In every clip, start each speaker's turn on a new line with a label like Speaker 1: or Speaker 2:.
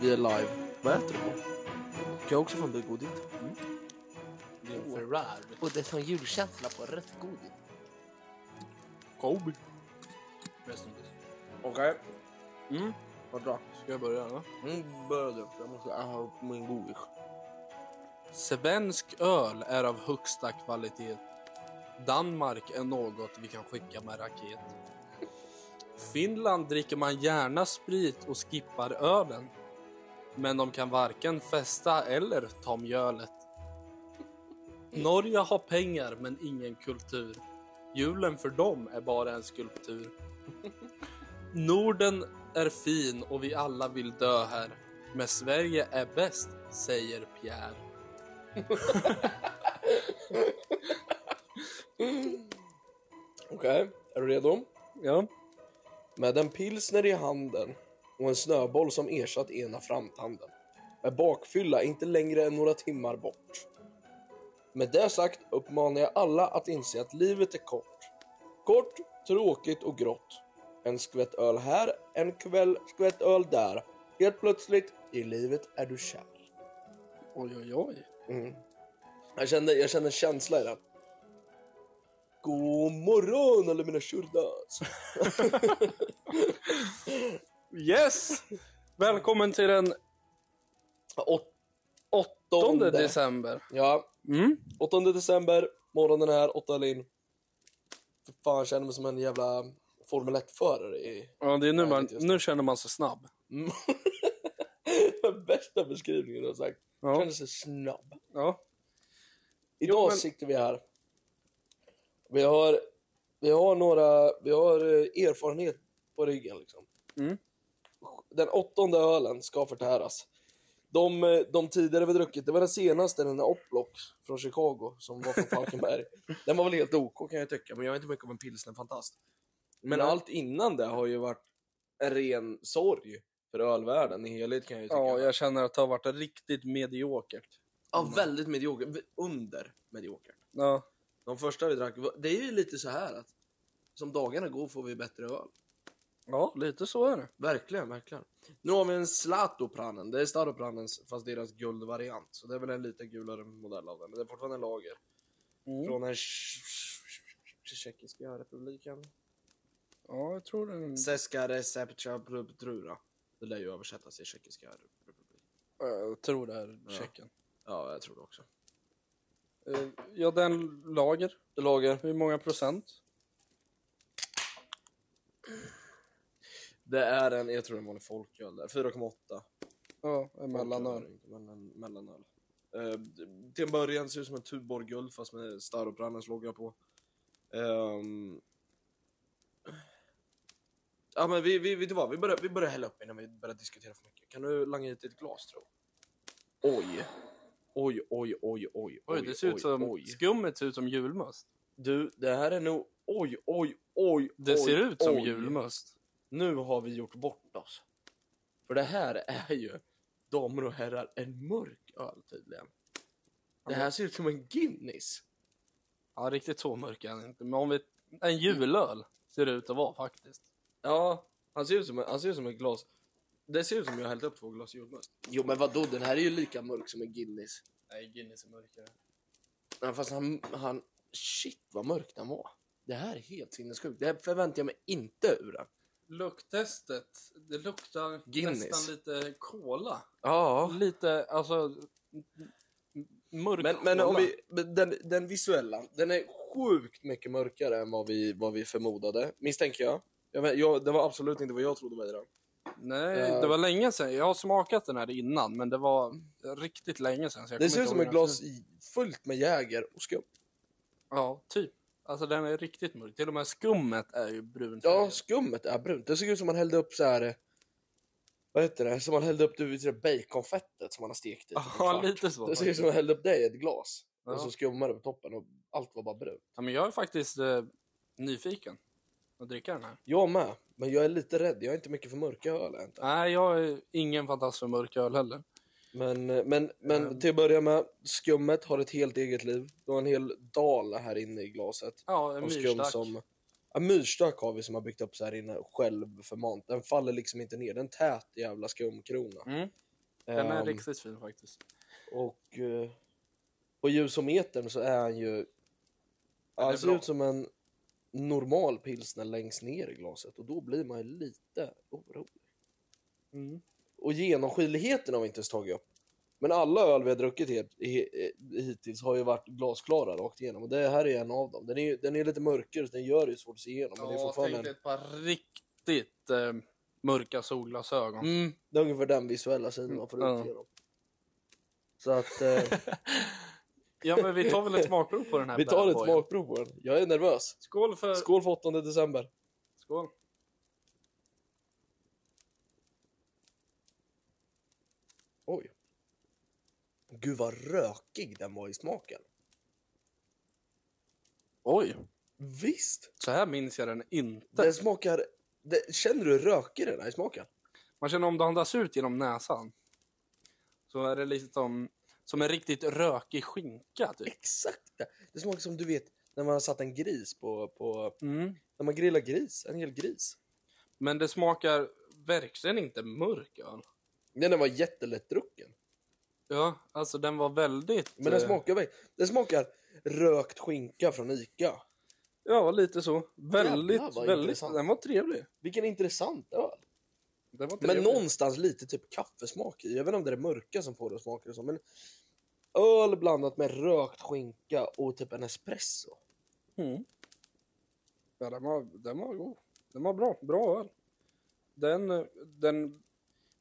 Speaker 1: Vi är live. Vad äter du på? Kan jag också få en bit godis?
Speaker 2: Det är en Ferrari.
Speaker 1: Och det är sån julkänsla på rätt godis.
Speaker 2: Kobe. Rest in peace.
Speaker 1: Okej. Mm. Vad bra.
Speaker 2: Ska jag börja eller?
Speaker 1: Mm, börja du. Jag måste äta upp min godis.
Speaker 2: Svensk öl är av högsta kvalitet. Danmark är något vi kan skicka med raket. Finland dricker man gärna sprit och skippar ölen. Men de kan varken festa eller ta mjölet. Norge har pengar men ingen kultur. Julen för dem är bara en skulptur. Norden är fin och vi alla vill dö här. Men Sverige är bäst, säger Pierre.
Speaker 1: Okej, är du redo?
Speaker 2: Ja.
Speaker 1: Med en pilsner i handen och en snöboll som ersatt ena framtanden. Med bakfylla inte längre än några timmar bort. Med det sagt uppmanar jag alla att inse att livet är kort. Kort, tråkigt och grått. En skvätt öl här, en kväll skvätt öl där. Helt plötsligt, i livet är du kär.
Speaker 2: Oj, oj, oj.
Speaker 1: Jag kände, jag kände en känsla i det. God morgon alla mina churdas.
Speaker 2: Yes! Välkommen till den
Speaker 1: Åt-
Speaker 2: 8
Speaker 1: Åttonde.
Speaker 2: december.
Speaker 1: Ja,
Speaker 2: Mm.
Speaker 1: 8 december, morgonen här, 8 lin. För fan, jag känner mig som en jävla Formel 1-förare i...
Speaker 2: Ja, det är nu,
Speaker 1: Ja,
Speaker 2: man,
Speaker 1: just det.
Speaker 2: nu känner man sig snabb.
Speaker 1: Bästa beskrivningen du har sagt.
Speaker 2: Ja.
Speaker 1: Känner sig snabb.
Speaker 2: Ja.
Speaker 1: Idag
Speaker 2: men-
Speaker 1: sitter vi här. Vi har, vi har några, vi har eh, erfarenhet på ryggen liksom.
Speaker 2: Mm.
Speaker 1: Den åttonde ölen ska förtäras. De, eh, de tidigare vi druckit, det var den senaste, den där Oplock från Chicago som var från Falkenberg. den var väl helt OK kan jag tycka, men jag är inte mycket av en pilsnerfantast. Men
Speaker 2: Nej.
Speaker 1: allt innan det har ju varit en ren sorg för ölvärlden i helhet kan jag ju tycka.
Speaker 2: ja, jag känner att det har varit riktigt mediokert.
Speaker 1: ja väldigt mediokert, under mediokert.
Speaker 2: Ja.
Speaker 1: De första vi drack, var- det är ju lite så här att som dagarna går får vi bättre öl.
Speaker 2: ja, lite så är det.
Speaker 1: Verkligen, verkligen. Nu har vi en Zlatopranen, det är Staropranens fast deras guldvariant. Så det är väl en lite gulare modell av den, men det är fortfarande en lager.
Speaker 2: Mm.
Speaker 1: Från den tj- tj- tjeckiska republiken.
Speaker 2: Ja, jag tror den...
Speaker 1: Seska Receptja Trura. Det lär ju översättas till tjeckiska republiken.
Speaker 2: Jag tror det är
Speaker 1: Ja.
Speaker 2: Tjeckien.
Speaker 1: Ja, jag tror det också.
Speaker 2: Eh, Ja, den lager.
Speaker 1: Lager.
Speaker 2: Hur många procent?
Speaker 1: Det är en, jag tror det var en folköl där, 4,8.
Speaker 2: Ja, en mellanöl.
Speaker 1: Folköl, mellan- Mellanöl. Eh, till en början ser det ut som en Tuborg guld fast med Starobrannens logga på. Ehm. ja men vi, vi, vet du vad? Vi börjar, vi börjar hälla upp innan vi börjar diskutera för mycket. Kan du langa hit ett glas tro? Oj. Oj, oj, oj, oj.
Speaker 2: Oj, det ser ut som... Skummet ser ut som julmust.
Speaker 1: Du, det här är nog... Oj, oj, oj,
Speaker 2: Det
Speaker 1: oj,
Speaker 2: ser ut som
Speaker 1: oj.
Speaker 2: julmust.
Speaker 1: Nu har vi gjort bort oss. För det här är ju, damer och herrar, en mörk öl tydligen. Det här ser ut som en Guinness.
Speaker 2: Ja, riktigt så mörk är den inte. Men om vi... En julöl ser det ut att vara faktiskt.
Speaker 1: Ja, han ser ut som, en- han ser ut som ett glas. Det ser ut som jag har hällt upp två glas julmust. Jo men vadå, den här är ju lika mörk som en Guinness.
Speaker 2: Nej, Guinness är mörkare.
Speaker 1: Ja, fast han, han, shit vad mörk den var. Det här är helt sinnessjukt. Det här förväntar jag mig inte ur den.
Speaker 2: Lukttestet, det luktar
Speaker 1: Guinness.
Speaker 2: nästan lite cola.
Speaker 1: Ja.
Speaker 2: Lite, alltså... m- m- Mörk
Speaker 1: Men, men om
Speaker 2: cola.
Speaker 1: vi, men den, den visuella, den är sjukt mycket mörkare än vad vi, vad vi förmodade, misstänker jag. jag, vet, jag det var absolut inte vad jag trodde med den.
Speaker 2: Nej,
Speaker 1: Eh.
Speaker 2: det var länge sedan. Jag har smakat den här innan, men det var riktigt länge sedan. Så jag
Speaker 1: Det
Speaker 2: kommer
Speaker 1: ser ut
Speaker 2: inte
Speaker 1: som
Speaker 2: ihåg
Speaker 1: ett
Speaker 2: hur den
Speaker 1: glas i, fullt med Jäger och skum.
Speaker 2: Ja, typ. Alltså den är riktigt mörk. Till och med skummet är ju brunt.
Speaker 1: Ja, skummet är brunt. Det ser ut som man hällde upp så här. eh, Vad heter det? Som man hällde upp du vet, det baconfettet som man har stekt i. typ en
Speaker 2: ja
Speaker 1: kvart.
Speaker 2: lite
Speaker 1: det
Speaker 2: så.
Speaker 1: ser ut
Speaker 2: faktiskt.
Speaker 1: som man hällde upp det i ett glas.
Speaker 2: Ja.
Speaker 1: Och så skummade det på toppen och allt var bara brunt.
Speaker 2: Ja, men jag är faktiskt eh, nyfiken att dricka den här.
Speaker 1: Jag med, men jag är lite rädd. Jag är inte mycket för mörka öl. jag är inte.
Speaker 2: Nej, jag är ingen fantast för mörk öl heller.
Speaker 1: Men, men, men
Speaker 2: Ehm.
Speaker 1: till att börja med, skummet har ett helt eget liv. Du har en hel dal här inne i glaset.
Speaker 2: Ja, en
Speaker 1: Av skum
Speaker 2: myrstack.
Speaker 1: som... En myrstack har vi som har byggt upp så här inne självförmant. Den faller liksom inte ner. Den tät jävla skumkrona.
Speaker 2: Mm. Den är liksom-
Speaker 1: Ehm,
Speaker 2: riktigt fin faktiskt.
Speaker 1: Och eh, på ljusometern så är han ju... Han ser
Speaker 2: bra.
Speaker 1: ut som en normal pilsner längst ner i glaset och då blir man ju lite orolig.
Speaker 2: Mm.
Speaker 1: Och genomskinligheten har vi inte ens tagit upp. Men alla öl vi har druckit hit, hi- hittills har ju varit glasklara rakt igenom och det här är en av dem. Den är, ju- den är lite mörkare så den gör det ju svårt att se igenom. Men det är
Speaker 2: Ja,
Speaker 1: fortfarande en,
Speaker 2: tänk dig ett par riktigt eh, mörka solglasögon.
Speaker 1: mm, det är ungefär den visuella sidan man får
Speaker 2: Mm, ja.
Speaker 1: ut genom. Så att eh,
Speaker 2: Ja, men vi tar väl ett smakprov på den här
Speaker 1: vi tar
Speaker 2: bad
Speaker 1: ett
Speaker 2: boyen.
Speaker 1: smakprov på den. Jag är nervös.
Speaker 2: Skål för...
Speaker 1: Skål för 8 december.
Speaker 2: Skål.
Speaker 1: Oj. Gud vad rökig den var i smaken.
Speaker 2: Oj,
Speaker 1: Visst?
Speaker 2: så här minns jag den inte.
Speaker 1: Den smakar... Det, känner du hur rökig den är i smaken?
Speaker 2: Man känner om det andas ut genom näsan. Så är det lite som, som en riktigt rökig skinka typ.
Speaker 1: Exakt det. Det smakar som du vet när man har satt en gris på... på
Speaker 2: Mm.
Speaker 1: när man grillar gris. En hel gris.
Speaker 2: Men det smakar verkligen inte mörk öl.
Speaker 1: Nej, den var jättelättdrucken.
Speaker 2: Ja, alltså den var väldigt...
Speaker 1: Men den
Speaker 2: eh,
Speaker 1: smakar... väl- Den smakar rökt skinka från Ica.
Speaker 2: Ja, lite så.
Speaker 1: Jävlar,
Speaker 2: Väldigt,
Speaker 1: vad
Speaker 2: väldigt...
Speaker 1: intressant.
Speaker 2: Den var trevlig.
Speaker 1: Vilken intressant öl.
Speaker 2: Den var
Speaker 1: Men
Speaker 2: trevlig.
Speaker 1: någonstans lite typ kaffesmak i. Jag vet inte om det är det mörka som får det att smaka så, men öl blandat med rökt skinka och typ en espresso.
Speaker 2: Mm. Ja, den var, den var god. Den var bra. Bra öl. Den, eh, den...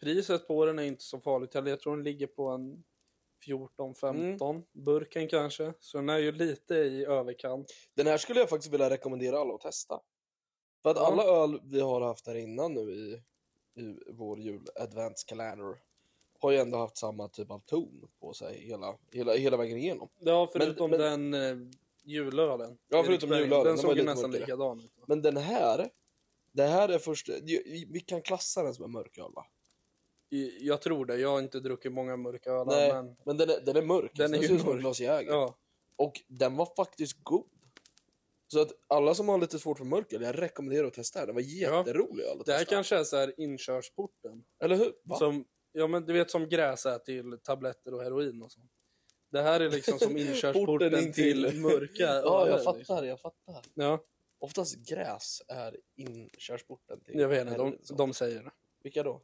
Speaker 2: Priset på den är inte så farligt heller. Jag tror den ligger på en 14-15
Speaker 1: Mm.
Speaker 2: burken kanske. Så den är ju lite i överkant.
Speaker 1: Den här skulle jag faktiskt vilja rekommendera alla att testa. För att
Speaker 2: Ja.
Speaker 1: alla öl vi har haft här innan nu i, i vår jul-adventskalender har ju ändå haft samma typ av ton på sig hela, hela, hela vägen igenom.
Speaker 2: Ja, förutom
Speaker 1: men-
Speaker 2: den eh, julölen.
Speaker 1: Ja, förutom
Speaker 2: Eriksberg.
Speaker 1: julölen. Den
Speaker 2: Den
Speaker 1: var
Speaker 2: såg ju
Speaker 1: lite
Speaker 2: nästan
Speaker 1: mörkare.
Speaker 2: likadan ut. va?
Speaker 1: Men den här, det här är först... Vi vi kan klassa den som en mörk öl va?
Speaker 2: I- Jag tror det. Jag har inte druckit många mörka ölar,
Speaker 1: Nej.
Speaker 2: men...
Speaker 1: Men den är, den är mörk.
Speaker 2: Den är
Speaker 1: den
Speaker 2: ju
Speaker 1: ser ut som en
Speaker 2: mörk.
Speaker 1: glas Jäger.
Speaker 2: Ja.
Speaker 1: Och den var faktiskt god. Så att alla som har lite svårt för mörker, jag rekommenderar att testa den. Den var jätterolig öl att
Speaker 2: Det här
Speaker 1: testa.
Speaker 2: kanske är så här inkörsporten.
Speaker 1: Eller hur? Va?
Speaker 2: Som, ja, men du vet som gräs är till tabletter och heroin och sånt. Det här är liksom som
Speaker 1: Porten
Speaker 2: inkörsporten
Speaker 1: in till-
Speaker 2: till mörka
Speaker 1: ja,
Speaker 2: öler,
Speaker 1: jag
Speaker 2: liksom.
Speaker 1: fattar, jag fattar.
Speaker 2: Ja,
Speaker 1: Oftast gräs är inkörsporten till...
Speaker 2: jag vet inte.
Speaker 1: eller
Speaker 2: De,
Speaker 1: så.
Speaker 2: de säger det.
Speaker 1: Vilka då?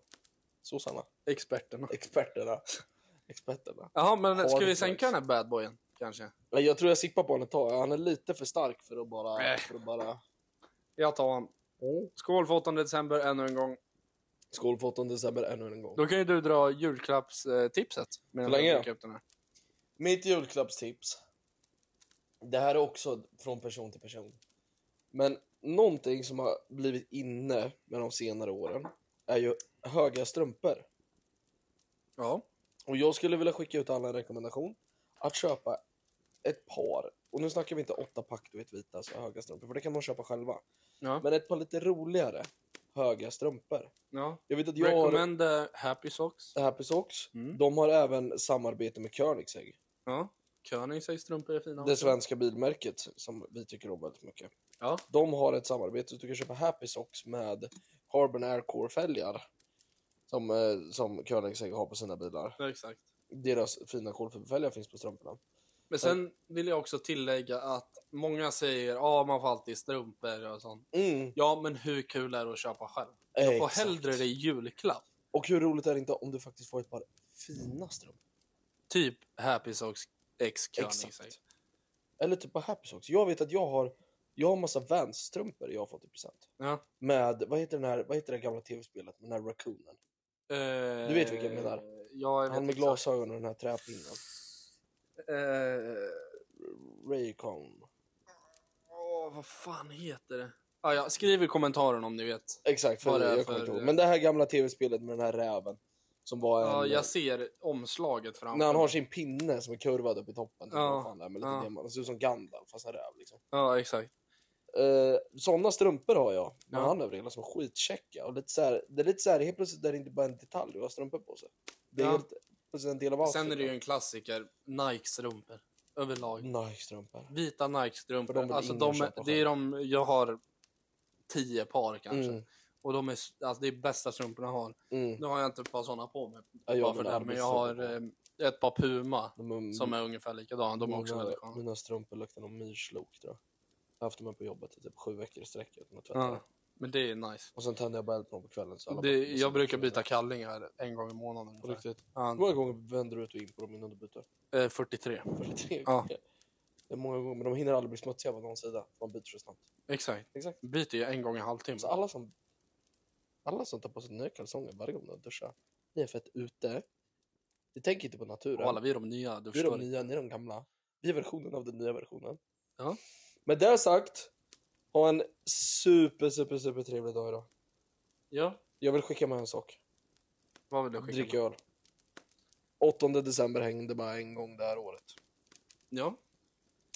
Speaker 1: Sossarna?
Speaker 2: Experterna.
Speaker 1: Experterna? Experterna?
Speaker 2: Jaha, men ska vi
Speaker 1: Hardboys.
Speaker 2: sänka den här badboyen? Kanske.
Speaker 1: Nej, jag tror jag sippar på honom ett tag. Han är lite för stark för att bara...
Speaker 2: Nej.
Speaker 1: För att bara...
Speaker 2: Jag tar han. Skål för 8 december ännu en gång.
Speaker 1: Skål för 8 december ännu en gång.
Speaker 2: Då kan ju du dra julklappstipset. medan
Speaker 1: Så länge
Speaker 2: jag
Speaker 1: då.
Speaker 2: dricker upp den här.
Speaker 1: Mitt julklappstips. Det här är också från person till person. Men någonting som har blivit inne med de senare åren är ju höga strumpor.
Speaker 2: Ja.
Speaker 1: Och jag skulle vilja skicka ut alla en rekommendation att köpa ett par. Och nu snackar vi inte åtta pack du vet vita så höga strumpor för det kan man köpa själva.
Speaker 2: ja.
Speaker 1: Men ett par lite roligare höga strumpor.
Speaker 2: ja.
Speaker 1: Jag vet att jag har
Speaker 2: Recommend eh, Happy Socks.
Speaker 1: Happy Socks.
Speaker 2: Mm.
Speaker 1: De har även samarbete med Koenigsegg.
Speaker 2: Ja. Koenigsegg strumpor är fina
Speaker 1: Det
Speaker 2: också.
Speaker 1: svenska bilmärket som vi tycker om väldigt mycket.
Speaker 2: Ja.
Speaker 1: De har ett samarbete så du kan köpa Happy Socks med Harbin Air Core-fälgar. Som, eh, som Koenigsegg har på sina bilar.
Speaker 2: Ja, Exakt.
Speaker 1: Deras fina kolfiberfälgar finns på strumporna.
Speaker 2: Men sen vill jag också tillägga att många säger att man får alltid strumpor och sånt.
Speaker 1: Mm,
Speaker 2: Ja, men hur kul är det att köpa själv? Jag får
Speaker 1: exakt.
Speaker 2: hellre det i julklapp.
Speaker 1: Och hur roligt är det inte om du faktiskt får ett par fina strumpor?
Speaker 2: Typ Happy Socks X Koenigsegg.
Speaker 1: Exakt. Eller typ på Happy Socks. Jag vet att jag har jag har massa Vans-strumpor jag har fått i present.
Speaker 2: Ja.
Speaker 1: Med, vad heter, den här, vad heter det gamla tv-spelet med den här raccoonen?
Speaker 2: Du
Speaker 1: vet vilken jag menar.
Speaker 2: Eh, Ja, jag vet
Speaker 1: Han med
Speaker 2: exakt.
Speaker 1: glasögon och den här träpinnen.
Speaker 2: Eh,
Speaker 1: Raycon.
Speaker 2: åh, vad fan heter det? Ah, ja, skriv i kommentaren om ni vet.
Speaker 1: Exakt, för
Speaker 2: Vad det är
Speaker 1: jag kommer
Speaker 2: för-
Speaker 1: inte ihåg. Men det här gamla tv-spelet med den här räven. Som var en...
Speaker 2: Ja, jag ser omslaget framför
Speaker 1: När han har
Speaker 2: mig.
Speaker 1: sin pinne som är kurvad upp i toppen. typ,
Speaker 2: Ja,
Speaker 1: vad fan det är, med lite
Speaker 2: ja.
Speaker 1: diamant. Han ser ut som Gandalf fast en räv liksom.
Speaker 2: Ja, exakt.
Speaker 1: Eh, såna strumpor har jag. Men
Speaker 2: Ja.
Speaker 1: han överlag som är skitchecka. Och lite så här, det är lite så här, helt plötsligt är det inte bara en detalj att ha strumpor på sig. Det är
Speaker 2: Ja.
Speaker 1: helt plötsligt en del av
Speaker 2: Sen är det ju
Speaker 1: outfiten.
Speaker 2: en klassiker. Nike-strumpor. Överlag.
Speaker 1: Nice strumpor.
Speaker 2: Vita
Speaker 1: För de
Speaker 2: Nike-strumpor.
Speaker 1: vill
Speaker 2: Alltså,
Speaker 1: ingen
Speaker 2: de,
Speaker 1: köpa
Speaker 2: det är de jag har tio par kanske.
Speaker 1: Mm.
Speaker 2: Och de är, s- alltså det är bästa strumporna jag har.
Speaker 1: Mm.
Speaker 2: Nu har jag inte ett par sådana på mig.
Speaker 1: Ja,
Speaker 2: bara
Speaker 1: jag
Speaker 2: för det,
Speaker 1: menar,
Speaker 2: här, men jag har eh, ett par Puma
Speaker 1: de är,
Speaker 2: som är ungefär likadana. De är också
Speaker 1: mina,
Speaker 2: väldigt sköna.
Speaker 1: mina strumpor luktar nog myrslok tror jag. Jag har haft dem här på jobbet i typ sju veckor i sträck utan att tvätta dem.
Speaker 2: Ja, men det är nice.
Speaker 1: Och sen tänder jag bara eld på dem på kvällen. Så alla bara,
Speaker 2: Det,
Speaker 1: det ser
Speaker 2: jag brukar
Speaker 1: ut som
Speaker 2: byta kallingar en gång i månaden.
Speaker 1: På
Speaker 2: ungefär.
Speaker 1: riktigt. Hur
Speaker 2: Ja,
Speaker 1: många gånger vänder du ut och in på dem innan du byter?
Speaker 2: eh, 43.
Speaker 1: 43
Speaker 2: Ja.
Speaker 1: gånger. Det är många gånger, men de hinner aldrig bli smutsiga på någon sida. Man byter så snabbt.
Speaker 2: Exakt.
Speaker 1: Exakt.
Speaker 2: Byter ju en gång i halvtimme.
Speaker 1: Så Alltså, alla som, alla som tar på sig nya kalsonger varje gång de duschar, ni är fett ute. Ni tänker inte på naturen.
Speaker 2: Och alla vi är de nya, du
Speaker 1: Vi är de
Speaker 2: förstår.
Speaker 1: nya, ni är de gamla. Vi är versionen av den nya versionen.
Speaker 2: Ja.
Speaker 1: Med det sagt, ha en super, super, super trevlig dag idag.
Speaker 2: Ja,
Speaker 1: Jag vill skicka med en sak.
Speaker 2: vad vill du skicka?
Speaker 1: Drick
Speaker 2: med?
Speaker 1: öl. 8 december hängde bara en gång det här året.
Speaker 2: Ja.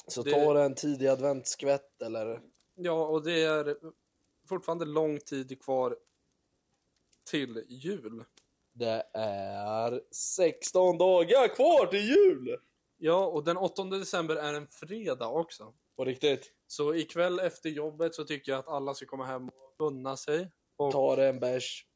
Speaker 1: Så
Speaker 2: Det-
Speaker 1: ta det en tidig adventsskvätt eller...
Speaker 2: ja, och det är fortfarande lång tid kvar till jul.
Speaker 1: Det är 16 dagar kvar till jul!
Speaker 2: Ja, och den 8 december är en fredag också.
Speaker 1: På riktigt.
Speaker 2: Så ikväll efter jobbet så tycker jag att alla ska komma hem och unna sig. Och ta,
Speaker 1: Ta det en bärs.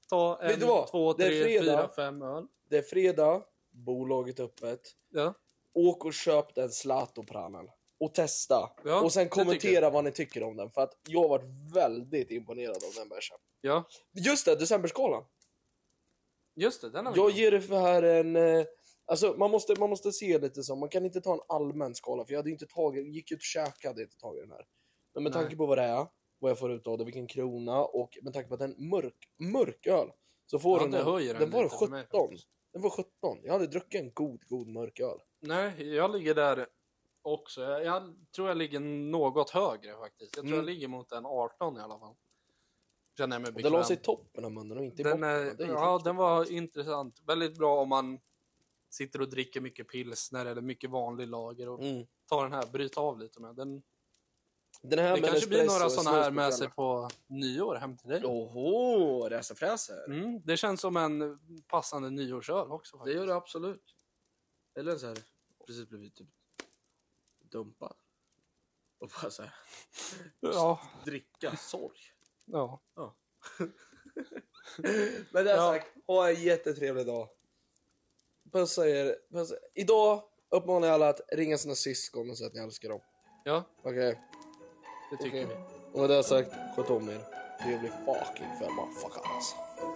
Speaker 1: Vet
Speaker 2: en,
Speaker 1: du vad?
Speaker 2: två,
Speaker 1: Det är
Speaker 2: tre, fyra,
Speaker 1: fredag.
Speaker 2: fem öl.
Speaker 1: Det är fredag, bolaget öppet.
Speaker 2: Ja,
Speaker 1: Åk och köp den Zlatopranen. Och testa.
Speaker 2: Ja,
Speaker 1: och sen
Speaker 2: det tycker
Speaker 1: kommentera vad ni tycker om den. För att jag har varit väldigt imponerad av den bärsen.
Speaker 2: ja.
Speaker 1: Just det, decemberskalan.
Speaker 2: Just det, den har vi
Speaker 1: Jag
Speaker 2: glömt.
Speaker 1: ger det för här en... eh, Alltså man måste, man måste se lite så, man kan inte ta en allmän skala för jag hade ju inte tagit, gick ut och käkade inte tagit den här. Men med
Speaker 2: Nej.
Speaker 1: tanke på vad det är, vad jag får ut av det, vilken krona och med tanke på att det är en mörk, mörk öl. Så får
Speaker 2: Ja,
Speaker 1: den,
Speaker 2: det
Speaker 1: en-
Speaker 2: höjer den
Speaker 1: den var
Speaker 2: lite för
Speaker 1: 17.
Speaker 2: mig faktiskt.
Speaker 1: den var 17. Jag hade druckit en god, god mörk öl.
Speaker 2: Nej, jag ligger där också. Jag, jag tror jag ligger något högre faktiskt. Jag tror
Speaker 1: Mm.
Speaker 2: jag ligger mot en 18 i alla fall. Känner jag mig
Speaker 1: Och den
Speaker 2: bekväm.
Speaker 1: la sig i toppen av munnen och inte i
Speaker 2: den,
Speaker 1: botten.
Speaker 2: är,
Speaker 1: Det är
Speaker 2: ja,
Speaker 1: riktigt
Speaker 2: den var intressant. Väldigt bra om man sitter och dricker mycket pilsner eller mycket vanlig lager och
Speaker 1: gott. Mm.
Speaker 2: tar den här, bryt av lite med den.
Speaker 1: Den här
Speaker 2: Det
Speaker 1: med
Speaker 2: kanske blir
Speaker 1: espresso
Speaker 2: några
Speaker 1: och
Speaker 2: sådana här med
Speaker 1: snus på
Speaker 2: sig på nyår hem till dig.
Speaker 1: kvällen. Oho, racerfräser.
Speaker 2: Mm, det känns som en passande nyårsöl också. Faktiskt.
Speaker 1: absolut. Eller så här, precis blivit typ dumpad. Och bara så här,
Speaker 2: Ja,
Speaker 1: dricka sorg.
Speaker 2: ja.
Speaker 1: Men det
Speaker 2: Ja.
Speaker 1: sagt, ha en jättetrevlig dag. Pussa er. Pussa. Idag uppmanar jag alla att ringa sina syskon och säga att ni älskar dem.
Speaker 2: ja,
Speaker 1: Okej?
Speaker 2: det tycker
Speaker 1: Okej.
Speaker 2: vi.
Speaker 1: Och med det sagt, sköt om er. Trevlig fucking kväll, motherfuckers.